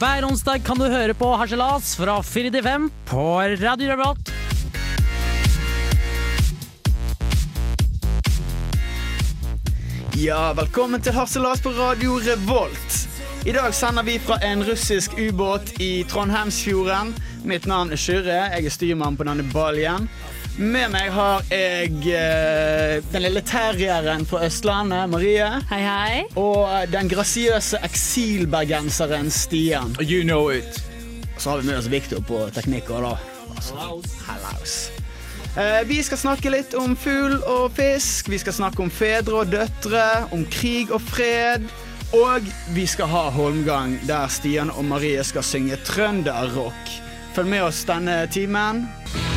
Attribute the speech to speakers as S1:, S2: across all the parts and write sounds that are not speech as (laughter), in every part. S1: Hver onsdag kan du høre på Harselas fra 4 til 5 på Radio Revolt.
S2: Ja, velkommen til Harselas på Radio Revolt. I dag sender vi fra en russisk ubåt i Trondheimsfjorden. Mitt navn er Kyrre. Jeg er styrmann på denne baljen. Med meg har jeg eh, den lille terrieren fra Østlandet, Marie.
S3: Hei, hei.
S2: Og den grasiøse eksilbergenseren Stian.
S4: You know it.
S2: Så har vi med oss Victor på teknikk også, da. Altså, Hallaus. Eh, vi skal snakke litt om fugl og fisk. Vi skal snakke om fedre og døtre, om krig og fred. Og vi skal ha Holmgang, der Stian og Marie skal synge trønderrock. Følg med oss denne timen. Ja,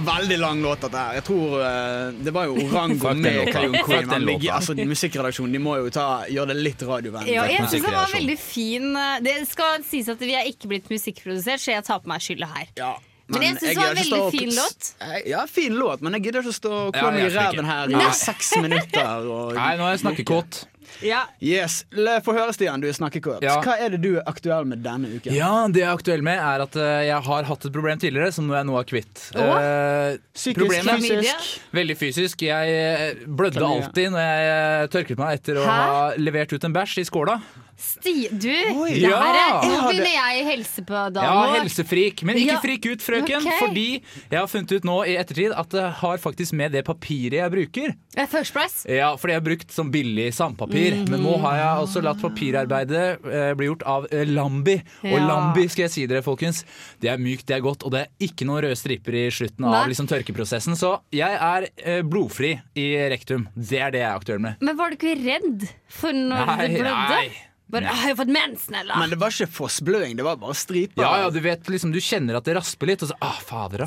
S2: Veldig lang låt, dette her. Jeg tror eh, Det var
S4: (laughs)
S2: jo Orango
S4: Fuck den
S2: med
S4: låta.
S2: Kajon
S4: Fuck
S2: Queen.
S4: den
S2: men
S4: låta.
S2: vi- Altså, musikkredaksjonen de må jo ta, gjøre det litt radiovennlig.
S3: Ja, jeg synes den var
S4: Musikkreaksjon.
S3: veldig fin. eh, Det skal sies at vi er ikke blitt musikkprodusert, så jeg tar på meg skylda her.
S2: Ja,
S3: Men jeg synes det
S2: gidder
S3: var en
S2: ikke stå
S3: veldig
S2: opp-
S3: fin låt.
S2: Ja, fin låt, men jeg gidder ikke å stå og
S4: Ja,
S2: klemme i
S4: jeg skjønner
S2: ræven her i
S4: ikke.
S2: seks minutter. Og...
S4: Nei, nå er jeg snakkekåt.
S3: Ja.
S2: Yes, La- Få høre, Stian, du er snakkekort.
S4: Ja.
S2: Hva er det du er aktuell med denne uken?
S4: Ja, det jeg er aktuell med, er at eh, jeg har hatt et problem tidligere som jeg nå er kvitt. Eh,
S2: Psykisk,
S4: problemet
S3: Klamydia?
S2: fysisk
S4: Veldig fysisk. Jeg eh, blødde
S2: Klamydia.
S4: alltid når jeg eh, tørket meg etter å
S3: Hæ?
S4: ha levert ut en bæsj i skåla.
S3: Sti, du,
S2: Oi.
S3: det her er,
S4: Ja.
S3: nå begynner jeg i helse på dagen.
S4: Ja, helsefrik. Men ikke
S3: Ja.
S4: frik ut, frøken.
S3: Ok.
S4: Fordi jeg har funnet ut nå i ettertid at det har faktisk med det papiret jeg bruker.
S3: Eh, First price.
S4: Ja, fordi jeg har brukt sånn billig sandpapir.
S3: Mhm.
S4: Men nå har jeg også latt papirarbeidet eh, bli gjort av eh, Lambi. Og
S3: Ja.
S4: Lambi, skal jeg si dere, folkens, det er mykt, det er godt, og det er ikke noen røde striper i slutten
S3: Nei.
S4: av liksom, tørkeprosessen. Så jeg er eh, blodfri i rektum. Det er det jeg er aktuell med.
S3: Men var du ikke redd for når
S4: Nei,
S3: du blødde?
S4: nei.
S3: Bare,
S4: Nei.
S3: har jeg fått mensen, eller?
S2: Men det var ikke fossbløing, det var bare striper.
S4: Ja, ja, du vet liksom, du kjenner at det rasper litt, og så ah, fader, da.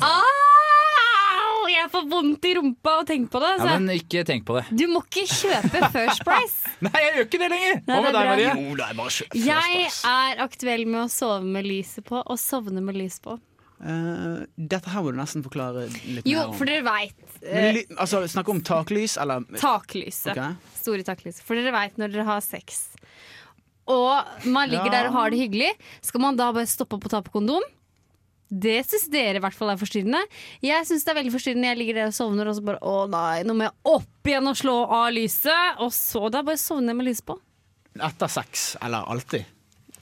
S3: Au! Jeg får vondt i rumpa av å tenke på det.
S4: Ja,
S3: Altså.
S4: men ikke tenk på det. (laughs)
S3: Du må ikke kjøpe First Price.
S4: Nei, jeg gjør ikke det lenger!
S3: Nei,
S4: Hva
S3: det er
S4: med deg,
S3: bra.
S4: Marie?
S2: Jo, det er bare kjø-
S3: Jeg
S2: først, ass.
S3: er aktuell med å sove med lyset på og sovne med lys på.
S2: Eh, Dette her må du nesten forklare litt
S3: Jo,
S2: mer om.
S3: for dere veit.
S2: Men ly- altså, Snakke om taklys, eller
S3: Taklyset.
S2: Ok.
S3: Store taklys. For dere veit når dere har sex, og man ligger
S2: Ja.
S3: der og har det hyggelig, skal man da bare stoppe opp og ta på kondom? Det syns dere i hvert fall er forstyrrende. Jeg syns det er veldig forstyrrende. Jeg ligger der og sovner, og så bare å nei, nå må jeg opp igjen og slå av lyset. Og så da bare sovner jeg med lyset på.
S2: etter sex, eller alltid.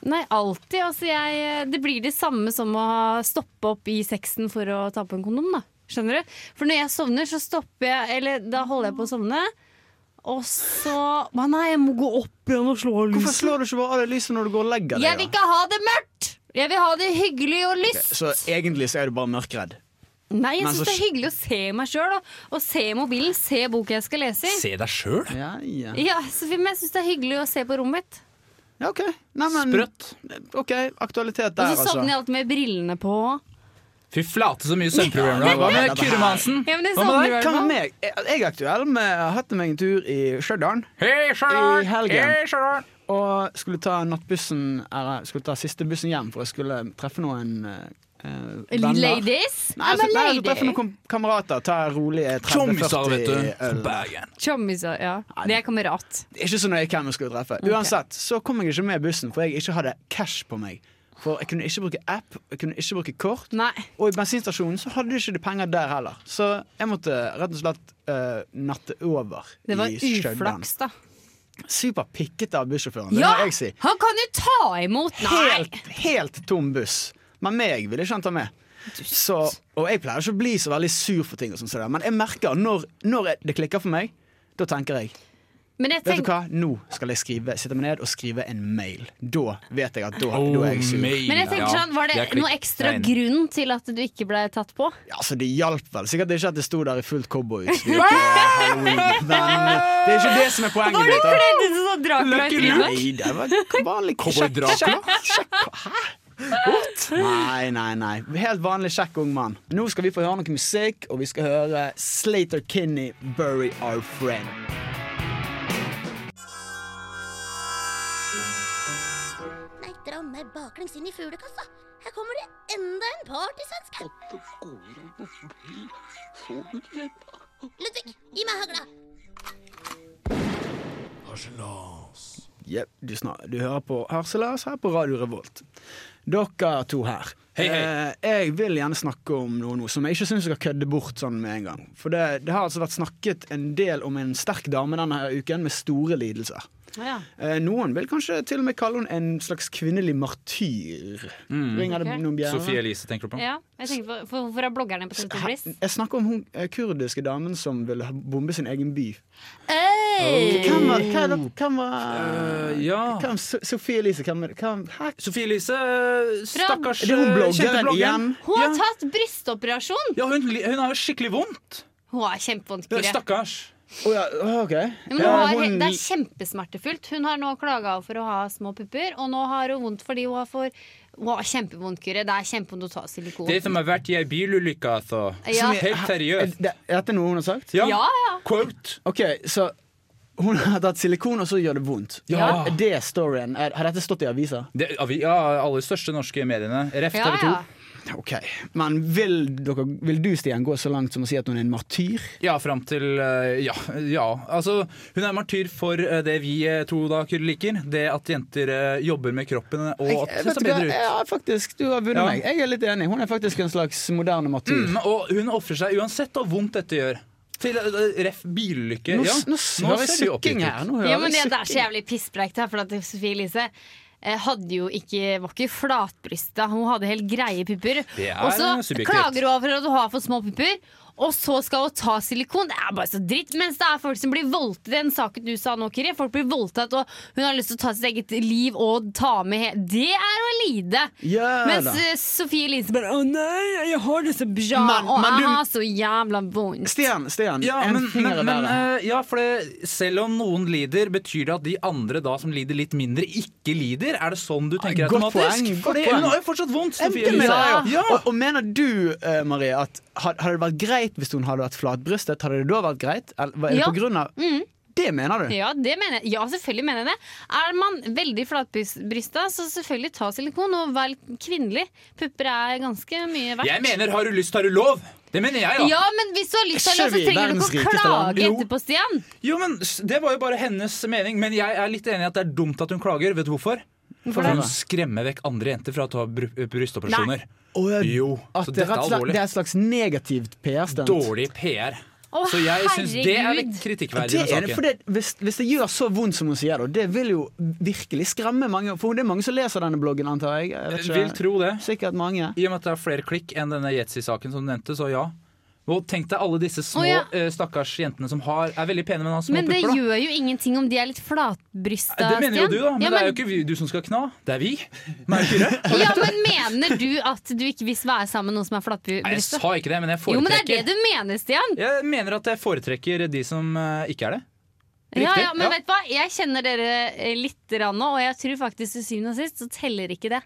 S3: Nei, alltid. Altså jeg Det blir det samme som å ha- stoppe opp i sexen for å ta på en kondom, da. Skjønner du? For når jeg sovner, så stopper jeg Eller da holder jeg på å sovne. Og så Å Nei, jeg må gå opp igjen og slå av
S2: Hvorfor
S3: lyset.
S2: slår du ikke bare av deg lyset når du går og legger deg?
S3: Jeg vil
S2: da?
S3: ikke ha det mørkt! Jeg vil ha det hyggelig og lyst.
S2: Så egentlig så er du bare mørkredd.
S3: Nei, jeg
S2: Men
S3: syns
S2: så
S3: det er hyggelig å se meg sjøl. Og se mobilen, se boka jeg skal lese i.
S4: Se deg sjøl.
S2: Ja, ja.
S3: Ja, Sofie, men jeg syns det er hyggelig å se på rommet mitt.
S2: Ja, OK. Nei, men,
S4: Sprøtt.
S2: OK, aktualitet
S3: Og
S2: der, altså.
S3: så sovner jeg alltid med brillene på.
S4: Fy flate, så mye søvnproblemer du har. Hva med Kyrre Mansen?
S3: Ja, men det
S4: Hva med
S3: savner jeg.
S4: deg?
S2: altså. Hva med meg? Jeg jeg er aktuell med jeg har hatt meg en tur i Stjørdal.
S4: Hei, Stjørdal!
S2: I helgen.
S4: Hei, Stjørdal!
S2: Og skulle ta nattbussen Eller skulle ta siste bussen hjem, for jeg skulle treffe noen eh, eh, venner.
S3: Ladies?
S2: Nei, altså, jeg
S3: I'm a
S2: skulle, nei, jeg skulle treffe
S3: lady.
S2: noen kom- kamerater. Ta rolige
S4: Tjommiser,
S2: 30-40
S4: vet du.
S2: øl.
S4: Bergen.
S3: Chommiser, ja. Det er kamerat.
S2: Ikke så nøye hvem jeg skulle treffe. Uansett, så kom jeg ikke med bussen, for jeg ikke hadde cash på meg. For jeg kunne ikke bruke app, jeg kunne ikke bruke kort.
S3: Nei.
S2: Og i bensinstasjonen så hadde de ikke de penger der heller. Så jeg måtte rett og slett eh, natte over
S3: Det var
S2: i Stjørdal.
S3: uflaks, da.
S2: Superpikkete av bussjåføren, det må jeg si.
S3: Han kan jo ta imot! Nei!
S2: Helt, helt tom buss. Men meg ville ikke han ta med. Så, og jeg pleier ikke å bli så veldig sur for ting, og sånt, som det, men jeg merker når, når jeg- det klikker for meg, da tenker jeg
S3: Men jeg
S2: Vet du
S3: tenker,
S2: hva, nå skal jeg skrive, sitte meg ned og skrive en mail. Da vet jeg at da, da er jeg sur.
S3: men jeg tenker sånn, Var det noe ekstra grunn til at du ikke ble tatt på?
S2: Ja, Altså, Det hjalp vel sikkert ikke at jeg sto der i fullt cowboyutstyr på Halloween, men eh, det er ikke det som er poenget mitt. da.
S3: kledd ut som sånn Dracula
S4: Lucky
S3: trynet?
S2: Nei, det var vanlig kjekk
S4: Cowboydrapa?
S2: kjekk- kjekk- Hæ? What? Nei, nei, nei. Helt vanlig kjekk ung mann. Nå skal vi få høre noe musikk, og vi skal høre Slater Kinney, 'Bury Our Friend'.
S5: Nei, dra meg baklengs inn i fuglekassa. Her kommer det enda en partysvenske. Ludvig, gi meg hagla.
S2: Jep, du, snak- du hører på Harselas her på Radio Revolt. Dere to her.
S4: Hei, hei.
S2: Eh, jeg vil gjerne snakke om noe, nå som jeg ikke syns skal kødde bort sånn med en gang. For det, det har altså vært snakket en del om en sterk dame denne her uken med store lidelser.
S3: Ja.
S2: Eh, noen vil kanskje til og med kalle henne en slags kvinnelig martyr. Ringer det
S3: Ok.
S2: noen bjerger?
S4: Mm. Sofie Elise tenker du på?
S3: ja. Jeg tenker på, for, Hvorfor er bloggerne på TV Bliss?
S2: Jeg snakker om hun eh, kurdiske damen som ville ha- bombe sin egen by.
S5: Hey.
S2: Hvem var, hva er det, hvem var
S4: Eh, ja.
S2: hvem, So- Sofie Elise, hvem, er det- hvem, hæ?
S4: Sofie Elise, stakkars
S2: Er det hun
S4: eh,
S2: bloggeren
S4: kjente
S2: igjen?
S3: Hun har
S4: Ja.
S3: tatt brystoperasjon!
S4: Ja, hun, li- hun har jo skikkelig vondt.
S3: Hun er kjempevondt.
S4: Stakkars.
S2: Å ja, å, ok.
S3: Ja, Men hun
S2: Ja,
S3: har,
S2: hun-
S3: Det er kjempesmertefullt. Hun har nå klaga for å ha små pupper, og nå har hun vondt fordi hun har for Hun har kjempevondt, Kyrre. Det er kjempevondt å ta silikon.
S4: Det som har vært i ei bilulykke, altså.
S3: Ja.
S4: Helt
S2: Er
S4: seriøst.
S2: det- er dette noe hun har sagt?
S4: Ja.
S3: Ja, ja.
S4: Quote.
S2: Ok, så hun har tatt silikon, og så gjør det vondt.
S4: Ja.
S2: Er Det storyen. Er, har dette stått i aviser?
S4: Det, ja, vi- ja, alle de største norske mediene. Ref
S3: ja,
S4: TV 2.
S3: ja.
S2: Ok, Men vil, dere, vil du, Stian, gå så langt som å si at hun er en martyr?
S4: Ja, fram til eh, ja, ja. Altså, hun er martyr for eh, det vi eh, to da Kyrre liker. Det at jenter eh, jobber med kroppen og at
S2: Jeg-
S4: det
S2: vet
S4: ser
S2: du hva?
S4: bedre ut.
S2: Ja, faktisk, du har vunnet
S4: Ja.
S2: meg. Jeg er litt enig. Hun er faktisk en slags moderne martyr.
S4: Mm, og hun ofrer seg uansett hvor vondt dette gjør. Til eh, ref bilulykke.
S2: Nå,
S4: Ja,
S2: nå hører jeg
S4: ser du
S2: sukking
S4: oppgitt ut.
S2: her. Nå hører
S3: ja men det,
S2: jeg
S3: det er så jævlig pisspreik der, for at Sofie Elise eh, hadde jo ikke, var ikke flatbrysta. Hun hadde helt greie pupper.
S4: Det er
S3: Og så
S4: subjektivt.
S3: klager hun over at hun har for små pupper. Og så skal hun ta silikon. Det er bare så dritt. Mens det er folk som blir voldtatt. Den saken du sa nå, Kiri. Folk blir voldtatt, og hun har lyst til å ta sitt eget liv og ta med he Det er å lide!
S2: Ja
S3: Mens
S2: da.
S3: eh, Sofie Elise bare 'Å nei, jeg har det så bra,
S2: Men-
S3: og
S2: men
S3: jeg
S2: du-
S3: har så jævla vondt'.
S2: Stian, Stian.
S4: Ja,
S2: en
S4: men,
S2: finger
S4: men,
S2: i
S4: men
S2: været.
S4: eh, ja, for det, selv om noen lider, betyr det at de andre da som lider litt mindre, ikke lider? Er det sånn du tenker
S2: godt
S4: automatisk?
S2: poeng, godt
S4: Fordi
S2: poeng.
S4: hun har jo fortsatt vondt. Sofie
S2: Endte med
S4: Elise.
S2: det, jo.
S4: ja.
S2: Og, og mener du, eh, Marie, at had- hadde det vært greit hvis hun hadde vært flatbrystet? Hadde det da vært greit? Eller, hva- er det
S3: Ja. Mm.
S2: på grunn av Det mener du?
S3: Ja, det mener jeg. ja, selvfølgelig mener jeg det. Er man veldig flatbrysta, så selvfølgelig ta silikon og vær litt kvinnelig. Pupper er ganske mye verdt.
S4: Jeg mener har du lyst, har du lov. Det mener jeg, da.
S3: Ja, men hvis du har lyst til
S2: Ikke
S3: det, så
S2: vi,
S3: trenger du
S2: verdens
S3: ikke å
S2: rikeste land.
S3: klage
S2: Jo.
S3: etterpå, Stian.
S4: Jo, men s- Det var jo bare hennes mening, men jeg er litt enig i at det er dumt at hun klager. Vet du hvorfor? For
S2: det?
S4: hun stemmer vekk andre jenter fra å ta bru- eh, brystoperasjoner.
S2: Og, eh,
S4: Jo,
S2: At
S4: så
S2: det,
S4: dette
S2: rett
S4: er
S2: og slett- det
S4: alvorlig.
S2: er et slags negativt PR-stunt?
S4: Dårlig PR.
S3: Å,
S4: Så jeg syns det er litt
S3: herregud.
S4: kritikkverdig
S2: Det
S4: med
S2: er det, for
S4: saken.
S2: det, hvis, hvis det gjør så vondt som hun sier, da, det vil jo virkelig skremme mange. For det er mange som leser denne bloggen, antar jeg. jeg vet ikke.
S4: Eh, Vil tro det.
S2: Sikkert mange.
S4: I og med at det er flere klikk enn denne Yetzy-saken som du nevnte, så ja. Og tenk deg alle disse små
S3: Å, ja.
S4: eh, stakkars jentene som har, er veldig pene, men har små
S3: Men det
S4: pupper. da. Eh,
S3: gjør jo ingenting om de er litt flatbrysta,
S4: Det mener jo
S3: Stian.
S4: du, da. Men
S3: ja,
S4: det er
S3: men,
S4: jo ikke vi, du som skal kna. Det er vi.
S3: (laughs)
S4: Nei, Kyrre.
S3: ja, men mener du at du ikke vil være sammen med noen som er
S4: Nei, jeg
S3: flatbrysta?
S4: sa ikke det, men jeg
S3: Jo, men det
S4: foretrekker
S3: er det du mener, Stian.
S4: Jeg mener at jeg foretrekker de som eh, ikke er det.
S3: Ja,
S4: Riktig,
S3: ja, men
S4: ja.
S3: vet du hva? Jeg kjenner dere eh, litt rann nå, og jeg tror faktisk til syvende og sist så teller ikke det.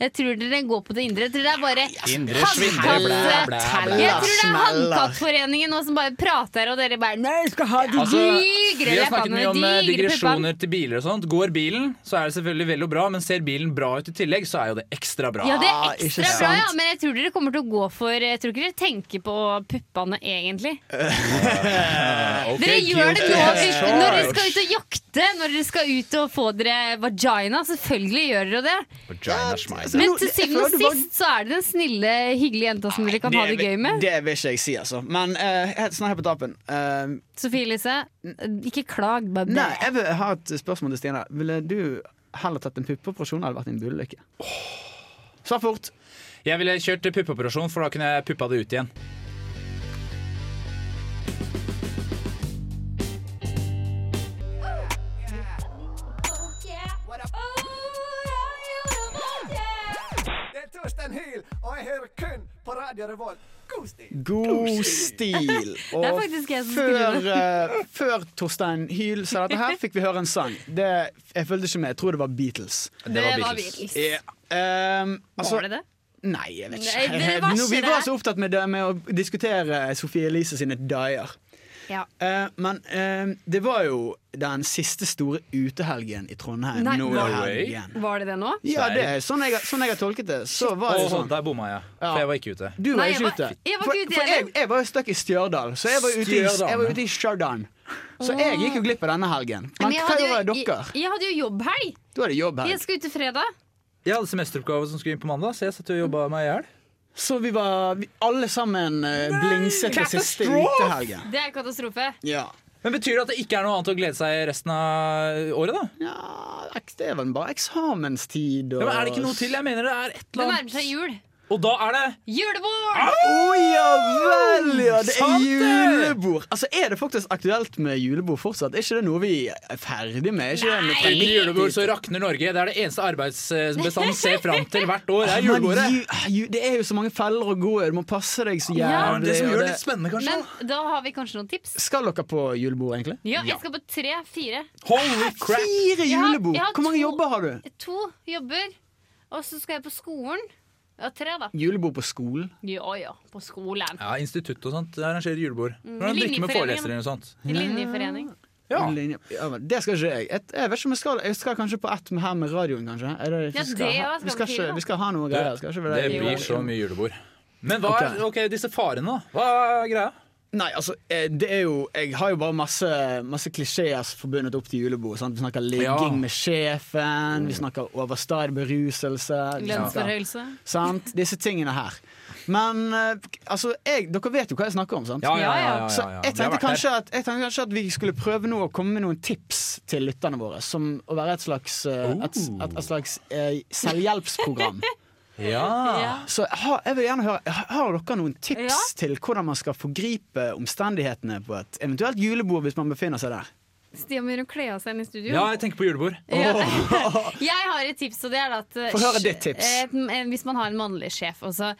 S3: Jeg tror dere går på det indre. Jeg tror det er bare
S2: altså.
S4: Indre svindler, blæ, blæ, blæ,
S3: handkatt...
S4: blæ.
S3: Jeg tror det er
S2: Smeller.
S3: Handkattforeningen nå som bare prater, og dere bare Nei, jeg skal ha de
S4: Altså,
S3: digre
S4: vi har snakket
S3: leppene,
S4: mye om
S3: de
S4: eh,
S3: digre puppene.
S4: digresjoner til biler og sånt. Går bilen, så er det selvfølgelig vel og bra, men ser bilen bra ut i tillegg, så er jo det ekstra bra.
S3: Ja, det
S2: Ah,
S3: er
S2: ikke
S3: ekstra bra, ja,
S2: sant.
S3: men jeg tror dere kommer til å gå for Jeg tror ikke dere tenker på puppene, egentlig.
S4: Eh, Ok,
S3: Dere gjør det
S4: guilty
S2: eh,
S3: nå
S4: as
S3: ut- når dere skal ut og jakte, når dere skal ut og få dere vagina. Selvfølgelig gjør dere det.
S4: Vagina smile.
S3: Men
S2: Nå,
S3: til
S2: jeg
S3: syvende og
S2: føler du bare-
S3: sist så er det den snille, hyggelige jenta som dere kan ha det
S2: vil-
S3: gøy med.
S2: det vil ikke jeg si, altså. Men eh, helt sånn her på tapen eh,
S3: Sofie Elise, ikke klag, bare
S2: Nei, jeg vil ha et spørsmål til Stina. Ville du heller tatt en puppeoperasjon eller vært i en bulykke? Svar fort.
S4: Jeg ville kjørt puppeoperasjon, for da kunne jeg puppa det ut igjen.
S6: Det er Torstein Hyl, og jeg hører kun på Radio Revolt. God stil!
S2: God stil. Og
S3: (laughs) Det er faktisk jeg som
S2: før,
S3: skulle
S2: eh, før Torstein Hyl sa dette her, fikk vi høre en sang. Det, jeg fulgte ikke med. Jeg tror det var Beatles.
S4: Det var Beatles.
S2: Ja, ehm, altså-
S3: Eh, Var det det?
S2: Nei, jeg vet ikke.
S3: Nei, det var
S2: Nå, vi
S3: ikke
S2: var
S3: det.
S2: så opptatt med, det, med å diskutere Sofie Elise sine eh, dyer.
S3: Ja.
S2: Eh, men eh, det var jo den siste store utehelgen i Trondheim.
S3: Nei,
S2: nå i
S3: no
S4: way.
S2: helgen.
S3: Var det det nå?
S2: Eh, Ja, det er sånn jeg, sånn jeg har tolket det. Så var det
S4: Åh,
S2: sånn.
S4: Der bomma jeg,
S2: Ja.
S4: for jeg var ikke ute.
S2: Du var
S3: Nei, jeg
S2: ikke
S3: var-
S2: ute.
S3: jeg var
S2: for,
S3: ikke ute
S2: for jeg,
S3: heller.
S2: jeg var jo stuck i Stjørdal, så jeg var ute i,
S4: Stjørdal,
S2: jeg var
S4: ja.
S2: ute i Stjørdal. Så jeg gikk jo glipp av denne helgen. Men
S3: jeg
S2: hva
S3: hadde jo-
S2: gjorde dere?
S3: Jeg, jeg hadde jo jobbhelg.
S2: Du hadde jobb
S3: Jeg
S2: her.
S3: skulle ut til fredag.
S4: Jeg hadde semesteroppgave som skulle inn på mandag, så jeg satt og jobba meg i hjel.
S2: Så vi var vi, alle sammen eh, blingset på siste utehelgen.
S3: Det er katastrofe.
S2: Ja.
S4: Men betyr det at det ikke er noe annet å glede seg i resten av året, da?
S2: ja, ek- det er vel bare eksamenstid og
S4: Ja, men er det ikke noe til? Jeg mener det er et
S3: Det
S4: eller
S3: nærmer
S4: annet.
S3: seg jul.
S4: Og da er det
S3: Julebord!
S2: Å ja vel, ja! Det er
S4: Sant det!
S2: julebord. Altså, Er det faktisk aktuelt med julebord fortsatt? Er ikke det noe vi er ferdig med? Er ikke det noe
S4: Uten julebord så rakner Norge. Det er det eneste
S3: (laughs)
S4: arbeidsbestanden ser fram til hvert år. Det er
S2: Men
S4: julebordet.
S2: ju, ah, ju, det er jo så mange feller å gå i. Du må passe deg så jævlig.
S4: Ja, det som
S2: og
S4: gjør det
S2: det-
S4: litt spennende, kanskje.
S3: Men da har vi kanskje noen tips.
S2: Skal dere på julebord, egentlig?
S3: Ja, jeg skal på tre, fire.
S4: Holy crap!
S2: Fire
S3: Jeg har-
S2: julebord!
S3: jeg har
S2: Hvor mange
S3: to-
S2: jobber har du?
S3: To jobber. Og så skal jeg på skolen. Ja, tre, da.
S2: Julebord på skolen?
S3: Ja ja, på skolen.
S4: Ja, Institutt og sånt arrangerer julebord.
S3: Mm.
S4: Hvordan drikke med
S3: Linjeforeningen.
S4: forelesere og sånt.
S3: I linjeforening.
S4: Ja.
S2: Linje- Ja, men det skal ikke jeg. Jeg, jeg vet ikke om jeg skal Jeg skal kanskje på ett med her med radioen, kanskje. Er det,
S3: Ja,
S2: vi,
S3: det
S2: skal ha,
S3: også
S2: vi,
S3: skal
S2: skal
S3: vi
S2: ikke,
S3: fire,
S2: vi skal ha noe greier. Skal ikke være
S4: Det
S2: det.
S4: blir så mye julebord. Men hva er ok, disse farene, da? Hva er greia?
S2: Nei, altså, eh, det er jo Jeg har jo bare masse, masse klisjeer som er forbundet opp til julebord. Sant? Vi snakker ligging
S4: Ja.
S2: med sjefen, vi snakker overstadig beruselse. vi snakker-
S3: Lønnsforhøyelse.
S2: Sant? Disse tingene her. Men eh, altså, jeg, dere vet jo hva jeg snakker om, sant? Så jeg
S4: Vi har
S2: tenkte,
S4: vært
S2: kanskje
S4: der.
S2: at, jeg tenkte kanskje at vi skulle prøve nå å komme med noen tips til lytterne våre. Som å være et slags, eh, et,
S4: Oh.
S2: et, et slags eh, selvhjelpsprogram.
S4: Ja.
S3: Ja.
S2: Så ha, jeg vil gjerne høre, Har dere noen tips
S3: Ja.
S2: til hvordan man skal forgripe omstendighetene på et eventuelt julebord hvis man befinner seg der?
S3: Stian begynner å kle av seg i studio.
S4: ja, jeg tenker på julebord.
S3: Ja. (laughs) Jeg har et tips, og det er at eh,
S2: Få høre ditt tips.
S3: et- eh, Hvis man har en mannlig sjef og så-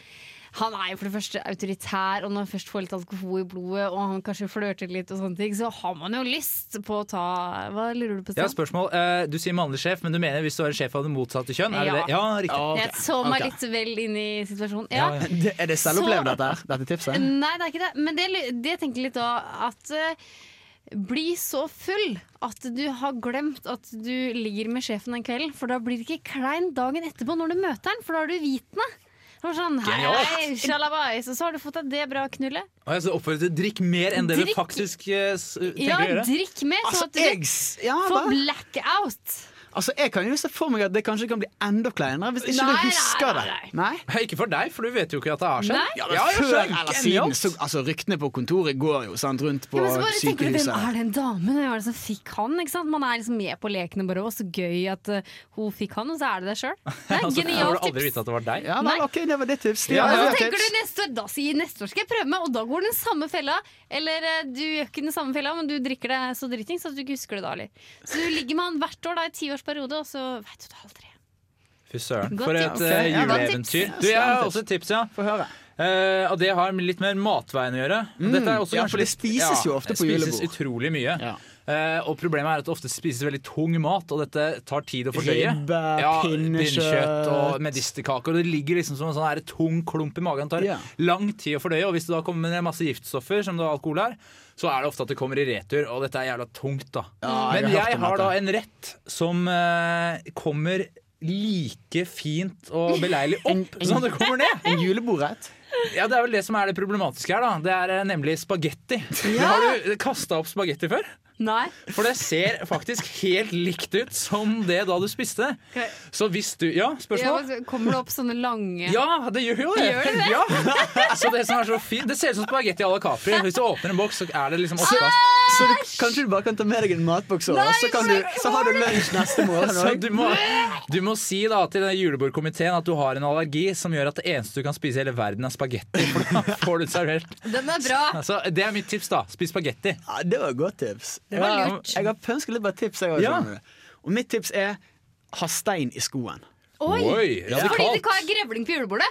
S3: han er jo for det første autoritær, og når han først får litt alkohol i blodet, og han kanskje flørter litt, og sånne ting, så har man jo lyst på å ta Hva lurer du på?
S4: Jeg
S3: Stian?
S4: har et spørsmål. Eh, Du sier mannlig sjef, men du mener hvis du er en sjef av det motsatte kjønn? Er det
S3: Ja.
S4: det? Ja, riktig.
S2: ok,
S3: Jeg så meg
S2: ok.
S3: litt vel inn i situasjonen.
S4: Ja,
S3: Ja.
S4: (laughs) ja.
S2: Det, er det selvopplevd, dette, her, dette tipset?
S3: Nei, det er ikke det. Men det, det tenker jeg litt da at eh, bli så full at du har glemt at du ligger med sjefen den kvelden, for da blir det ikke klein dagen etterpå når du møter den, for da er du vitende. Det var Sånn, hei,
S4: Genialt.
S3: hei, shalabais, og så har du fått deg det bra knullet.
S4: Og jeg så oppfordrer til drikk mer enn det du
S3: Drikk-
S4: faktisk eh, s- tenker
S3: Ja,
S4: å gjøre.
S3: drikk mer,
S2: Altså,
S3: sånn at du
S2: jeg, s- ja,
S3: får
S2: hva?
S3: blackout.
S2: altså, jeg kan jo se for meg at det kanskje kan bli enda kleinere hvis ikke
S3: Nei,
S2: du
S3: nei,
S2: husker
S3: nei,
S2: det. Nei?
S4: Nei, Ikke for deg, for du vet jo ikke at det har skjedd.
S3: Nei.
S2: Ja,
S4: Ja,
S2: men
S4: jeg
S2: før
S4: skjønner.
S2: eller siden
S4: Genialt.
S2: så, altså, Ryktene på kontoret går jo sant, rundt på
S3: Ja, men så bare tenker du, Hvem
S2: sykehuset.
S3: er den damen? Hvem er det som fikk han? Ikke sant? Man er liksom med på lekene bare, og så gøy at eh, hun fikk han, og så er det deg sjøl. Det er
S4: (laughs) Altså, jeg får
S3: genialt
S4: aldri
S3: tips.
S4: vite at det var deg.
S2: Ja, vel,
S3: Nei.
S2: ok, Det var ditt tips. Stian,
S4: Ja,
S2: hva er
S4: ja,
S3: Og
S2: ditt
S3: så tenker
S2: tips?
S3: du neste år, da sier neste år skal jeg prøve meg, og da går den samme fella. Eller eh, du gjør ikke den samme fella, men du drikker det så dritings at du ikke husker det da heller. Så du ligger med han hvert år da i tiårsperiode, og så veit du det aldri.
S4: Fy søren.
S3: Godt
S4: For et
S3: tips.
S4: eh,
S2: Ok, ja, godt
S4: juleeventyr.
S2: tips.
S4: Du, jeg har også et tips, ja.
S2: Få høre.
S4: Eh, og det har med litt mer matveien å gjøre. Og Dette er
S2: Mm.
S4: også
S2: ja,
S4: kanskje
S2: for det
S4: litt-
S2: spises jo ofte
S4: det
S2: på
S4: spises
S2: julebord.
S4: utrolig mye.
S2: Ja.
S4: Eh, og problemet er at det ofte spises veldig tung mat, og dette tar tid å fordøye.
S2: Ribbe, pinnekjøtt.
S4: pinnekjøtt og medisterkaker. Og det ligger liksom som en sånn her tung klump i magen. tar
S2: Ja.
S4: lang tid å fordøye, og hvis det da kommer med masse giftstoffer, som det er alkohol her, så er det ofte at det kommer i retur, og dette er jævla tungt, da.
S2: Ja, jeg
S4: Men
S2: har hørt
S4: jeg
S2: om
S4: har
S2: dette.
S4: da en rett som eh, kommer like fint
S2: (laughs)
S4: og beleilig opp som det kommer ned.
S2: En julebordrett?
S4: Ja, Det er vel det som er det problematiske her. da Det er eh, nemlig spagetti. Har du kasta opp spagetti før?
S3: Nei.
S4: For det ser faktisk helt likt ut som det da du spiste.
S3: Ok.
S4: Så hvis du Ja,
S3: Ja,
S4: spørsmål?
S3: men så kommer det opp sånne lange
S4: Ja, det gjør jo det!
S3: Gjør det det?
S4: Ja. (laughs) Så Det som er så fint Det ser ut som spagetti à la Capri. Hvis du åpner en boks, så er det liksom
S3: Ah!
S4: oppkast.
S2: Så du, kanskje du bare kan ta med deg en matboks over, så, kan du, så har du lunsj neste morgen.
S3: (laughs)
S4: Så du må, du må si da til den julebordkomiteen at du har en allergi som gjør at det eneste du kan spise i hele verden, er spagetti. For da (laughs) får du det servert.
S3: Den er bra!
S4: Så det er mitt tips, da. Spis spagetti.
S2: Ja, det var et godt tips.
S3: var
S2: Jeg har-
S3: lurt.
S2: Jeg har pønsket litt bare tips. Jeg, også,
S4: Ja.
S2: skjønner du. Og mitt tips er ha stein i skoen.
S3: Oi!
S4: Oi,
S3: Fordi
S4: radikalt.
S3: det kan være grevling på julebordet.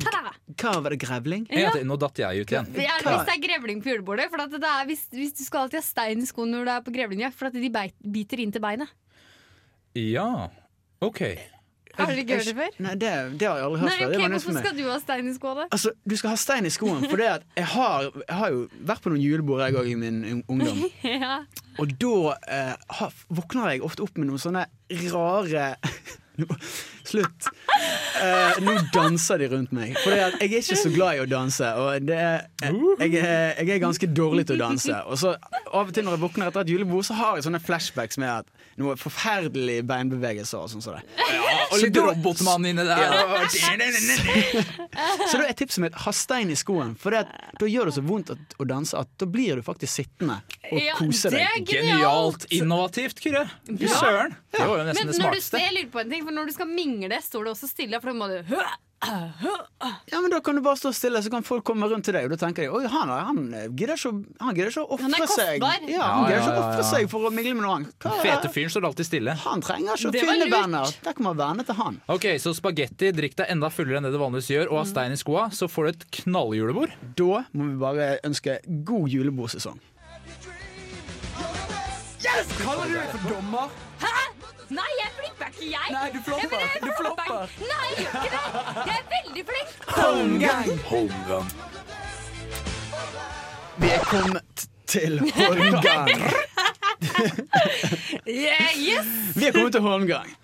S3: Ta-da!
S2: Hva var det, grevling?
S4: En gang til. Nå datt jeg ut igjen.
S3: Det er Hvis det er grevling på julebordet. For at det er, hvis, hvis Du skal alltid ha stein i skoen når du er på grevlingjakt, for at de beit, biter inn til beinet.
S4: Ja, ok.
S3: Har dere ikke hørt det før?
S2: Nei, det, det har jeg aldri hørt
S3: Nei,
S2: før.
S3: ok,
S2: Det var nytt for
S3: Hvorfor
S2: meg.
S3: skal du ha stein i skåla?
S2: Altså, Du skal ha stein i skoen, for det at jeg har, jeg har jo vært på noen julebord jeg òg i min un- ungdom.
S3: (laughs) Ja.
S2: Og da eh, har- våkner jeg ofte opp med noen sånne rare (laughs) Slutt. Eh, nå danser de rundt meg. For jeg er ikke så glad i å danse. Og det er, jeg, er, jeg er ganske dårlig til å danse. Og så Av og til når jeg våkner etter et julebord, så har jeg sånne flashbacks med at noe forferdelige beinbevegelser. og sånn som det.
S4: Og litt robotmann inni der.
S2: Så da er tipset mitt ha stein i skoen. For det at, da gjør det så vondt at, å danse at da blir du faktisk sittende og
S3: Ja,
S2: kose
S3: det er
S2: deg.
S4: Genialt innovativt, Kyrre. Fy søren. Det var jo
S3: Men
S4: nesten det
S3: når du,
S4: smarteste.
S3: jeg lurer på en ting, for når du skal mingle, står det også stille, for da må du
S2: Ja, men Da kan du bare stå stille, så kan folk komme rundt til deg, og da tenker de oi, han, er- han eh, gidder ikke, å- han gidder ikke å
S3: Han er
S2: ofre seg.
S3: kostbar.
S2: Ja, han
S4: Ja,
S2: gidder ikke
S4: ja,
S2: å
S4: ja,
S2: ofre
S4: ja.
S2: seg for å mingle med noen. Hva,
S4: Fete fyren står alltid stille.
S2: Han trenger ikke å
S3: Det var
S2: finne
S3: lurt.
S2: venner. Der kan man verne til han.
S4: Ok, Så spagetti, drikk deg enda fullere enn det du vanligvis gjør, og ha stein i skoa, så får du et knalljulebord.
S2: Da må vi bare ønske god julebordsesong.
S6: Kaller du deg for dommer?
S3: Nei, jeg flipper ikke, jeg!
S6: Nei, du flopper.
S3: Jeg mener, jeg
S6: Du flopper.
S3: Nei, jeg gjør ikke det! Jeg er veldig flink!
S6: Holmgang!
S2: Vi er kommet til Holmgang.
S3: Yeah, yes!
S2: Vi er kommet til Holmgang.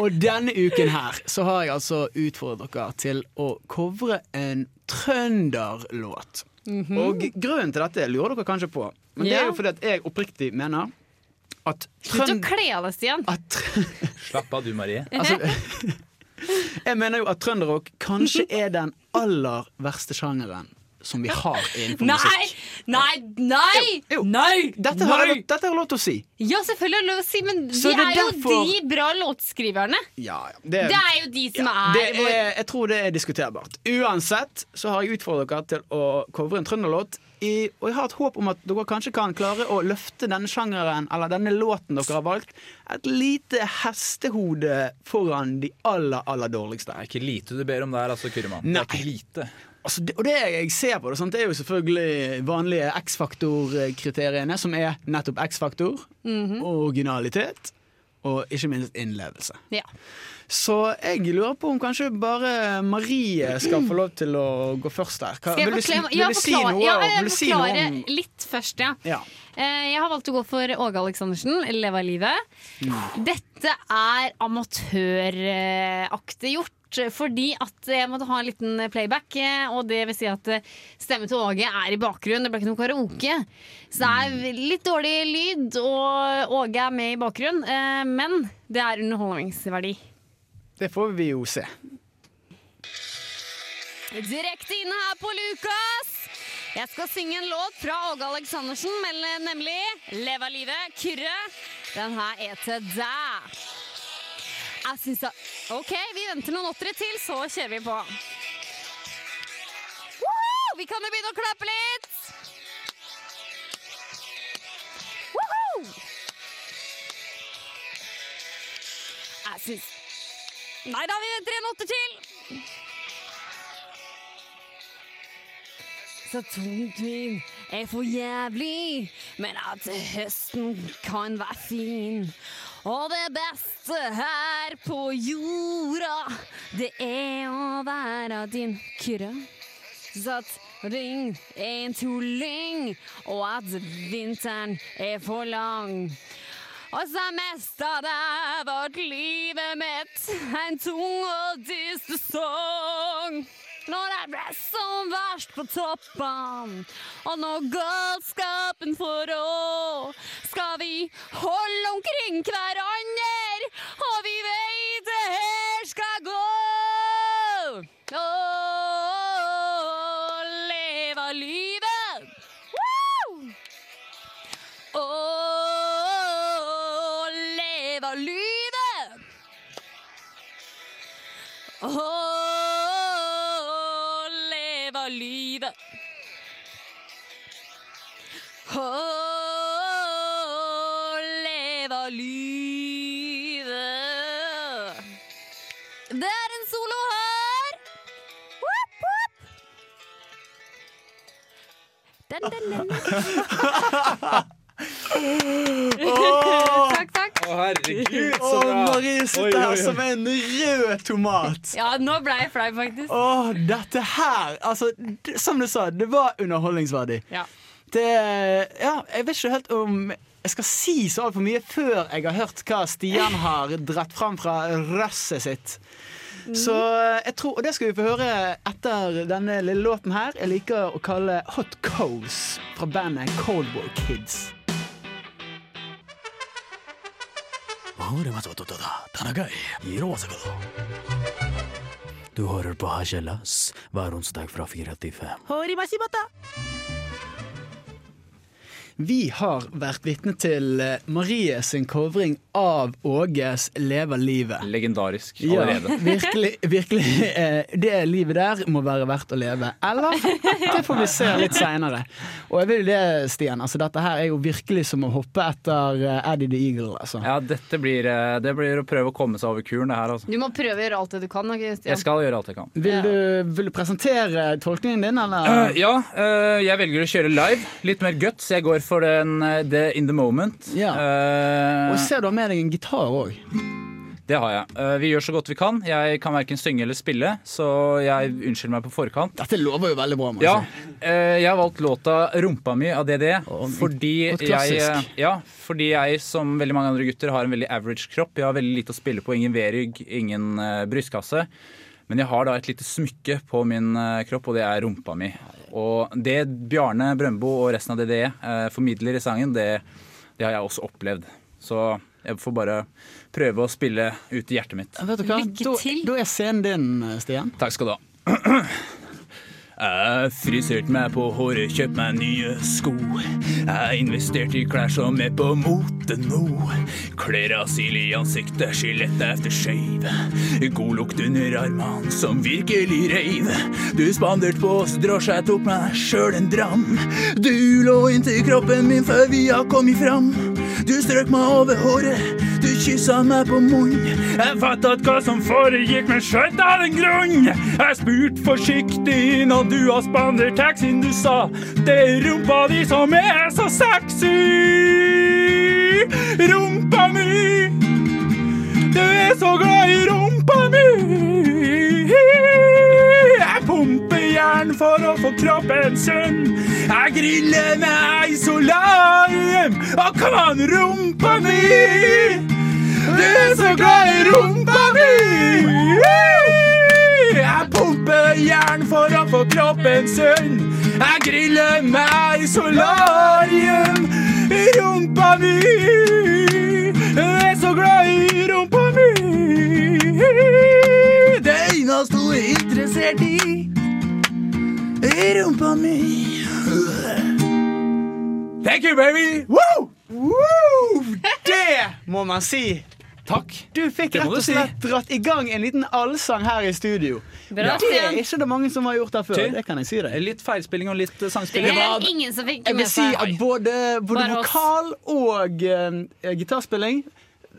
S2: Og denne uken her så har jeg altså utfordret dere til å covre en trønderlåt. Og grunnen til dette lurer dere kanskje på, men det er jo
S3: Mhm. Ja.
S2: fordi at jeg oppriktig mener at
S3: Slutt å
S2: trønd...
S3: kle av deg, Stian.
S2: At, trø-
S4: Slapp av du, Marie.
S2: altså, (laughs) jeg mener jo at trønderrock kanskje
S3: Mhm.
S2: er den aller verste sjangeren som vi har innenfor
S3: Nei!
S2: musikk.
S3: Nei! Nei!
S2: Jo, jo.
S3: Nei!
S2: Dette har, jeg, lov- dette har jeg lov til å si.
S3: Ja, selvfølgelig er det lov å si, men
S2: Så
S3: de
S2: det er
S3: er jo
S2: derfor-
S3: de bra låtskriverne.
S2: Ja, ja. Det,
S3: Det er jo de som er,
S2: det
S3: vår
S2: er, jeg tror det er diskuterbart. Uansett så har jeg utfordret dere til å covre en trønderlåt. I, og jeg har et håp om at dere kanskje kan klare å løfte denne sjangeren eller denne låten dere har valgt, et lite hestehode foran de aller, aller dårligste.
S4: Det er ikke lite du ber om der, altså, Kyrremann. Det
S2: Nei.
S4: er ikke lite.
S2: Altså, det, og det jeg ser på det, sant, det er jo selvfølgelig vanlige X-faktor-kriteriene, som er nettopp X-faktor,
S3: Mhm.
S2: originalitet og ikke minst innlevelse.
S3: Ja.
S2: Så jeg lurer på om kanskje bare Marie skal få lov til å gå først der. Hva,
S3: Skal jeg
S2: vil du, si-
S3: forklare,
S2: vil
S3: ja,
S2: du si
S3: forklare-
S2: noe,
S3: ja,
S2: om-
S3: jeg
S2: vil du si noe
S3: forklarer
S2: om
S3: litt først, ja.
S2: ja.
S3: Eh, Jeg har valgt å gå for Åge Aleksandersen, 'Leva livet'.
S2: Mm.
S3: Dette er amatøraktig gjort. Fordi at jeg måtte ha en liten playback, eh, og det vil si at eh, stemmen til Åge er i bakgrunnen. Det ble ikke noe karaoke. Så
S2: Mm.
S3: det er litt dårlig lyd, og Åge er med i bakgrunnen. eh, Men det er underholdningsverdi.
S2: Det får vi jo se.
S3: Direkte inne her på Lukas. Jeg skal synge en låt fra Åge Aleksandersen, men eh, nemlig 'Leva livet', Kyrre. Den her er til deg. Jeg syns da OK, vi venter noen åttere til, så kjører vi på. Woohoo! Vi kan jo begynne å klappe litt. Woohoo! Jeg syns Nei da, vi venter en åtter til. så tungt vin er for jævlig, men at høsten kan være fin. Og det beste her på jorda, det er å være din kyrre. Så at ring er en tulling, og at vinteren er for lang. Og så mesta det vårt livet mitt en tung og dyster sang. Når det ble som verst på toppen, og når galskapen får rå, skal vi holde omkring hverandre, og vi veit det her skal gå. Å, leve livet! Woo! Å, leve livet! Å, leve livet! Å, leve livet! Det er en solo her! Woop, woop. Den, den, (laughs) den. Takk, takk.
S4: Å, herregud,
S2: Å, Kari sitter her som en rød tomat.
S3: Ja, nå ble jeg flau, faktisk.
S2: Åh, dette her Altså, d- som du sa, det var underholdningsverdig.
S3: Ja.
S2: Det Ja, jeg vet ikke helt om jeg skal si så altfor mye før jeg har hørt hva Stian har dratt fram fra rasset sitt. Så eh, jeg tror, Og det skal vi få høre etter denne lille låten her. Jeg liker å kalle Hot Coals fra bandet Cold War Kids.
S1: Du hører på Hachelas hver onsdag fra 4 til 5.
S2: Vi har vært vitne til eh, Marie sin covring av Åges 'Lever livet'.
S4: Legendarisk
S2: Ja,
S4: allerede.
S2: (laughs) virkelig. virkelig eh, Det livet der må være verdt å leve. Eller? Det får vi se litt seinere. Og jeg vil det, Stian. Altså, dette her er jo virkelig som å hoppe etter eh, Eddie the Eagle. Altså.
S4: Ja, dette blir, eh, det blir å prøve å komme seg over kuren, det her, altså.
S3: Du må prøve å gjøre alt det du kan. ok, Stian?
S4: Jeg skal gjøre alt jeg kan.
S2: Vil, du, vil du presentere tolkningen din,
S4: Eh,
S2: eller?
S4: ja, eh, jeg velger å kjøre live. Litt mer guts. Jeg går for den eh, the in the moment.
S2: Ja.
S4: Eh,
S2: Og jeg ser du har med deg en gitar òg.
S4: det har jeg. Eh, vi gjør så godt vi kan. Jeg kan verken synge eller spille, så jeg unnskylder meg på forkant.
S2: Dette lover jo veldig bra. Marie.
S4: Ja, eh, jeg har valgt låta 'Rumpa mi' av DDE
S2: Å,
S4: fordi
S2: og et
S4: jeg, eh,
S2: klassisk.
S4: ja, fordi jeg, som veldig mange andre gutter, har en veldig average kropp. Jeg har veldig lite å spille på. Ingen V-rygg, ingen eh, brystkasse. Men jeg har da et lite smykke på min eh, kropp, og det er rumpa mi. Og det Bjarne Brøndbo og resten av DDE eh, formidler i sangen, det, det har jeg også opplevd. Så jeg får bare prøve å spille ut i hjertet mitt.
S2: Vet du hva?
S3: Lykke til.
S2: Da, da er scenen din, eh, Stian.
S4: Takk skal du ha. (clears throat) Jeg friserte meg på håret, kjøpte meg nye sko. Jeg investerte i klær som er på mote nå. Klær av sild i ansiktet, skjelett efter shave. God lukt under armene, som virkelig reiv. Du spanderte på oss drosje, jeg tok meg sjøl en dram. Du lå inntil kroppen min før vi har kommet fram. Du strøk meg over håret, du kyssa meg på munnen. Jeg fatta at hva som foregikk, men skjønte av den grunn. Jeg spurte forsiktig når du har spandert taxien. Du sa det er rumpa di som er så sexy. Rumpa mi. Du er så glad i rumpa mi. Jeg pumper jern for å få kroppen sunn. Jeg griller med isolarium og kom an, rumpa mi. Du er så glad i rumpa mi. Jeg pumper jern for å få kroppen sunn. Jeg griller med isolarium. Rumpa mi. Du er så glad i rumpa mi. Det eneste hun er interessert i, er rumpa mi. Thank you, baby!
S2: Wow! Wow! Det må man si.
S4: Takk.
S2: Du fikk
S4: Det må
S2: rett
S4: du
S2: og
S4: si.
S2: slett dratt i gang en liten allsang her i studio.
S3: Bra,
S2: Det er
S3: Stian.
S2: ikke det mange som har gjort her før.
S4: Ty.
S2: Det kan jeg si deg.
S4: Litt feilspilling og litt eh,
S3: Det
S4: sangspilling.
S3: er
S2: var-
S3: ingen som fikk
S2: Jeg vil
S3: med
S2: si
S3: seg.
S2: at både, både
S3: Bare oss.
S2: vokal og eh, gitarspilling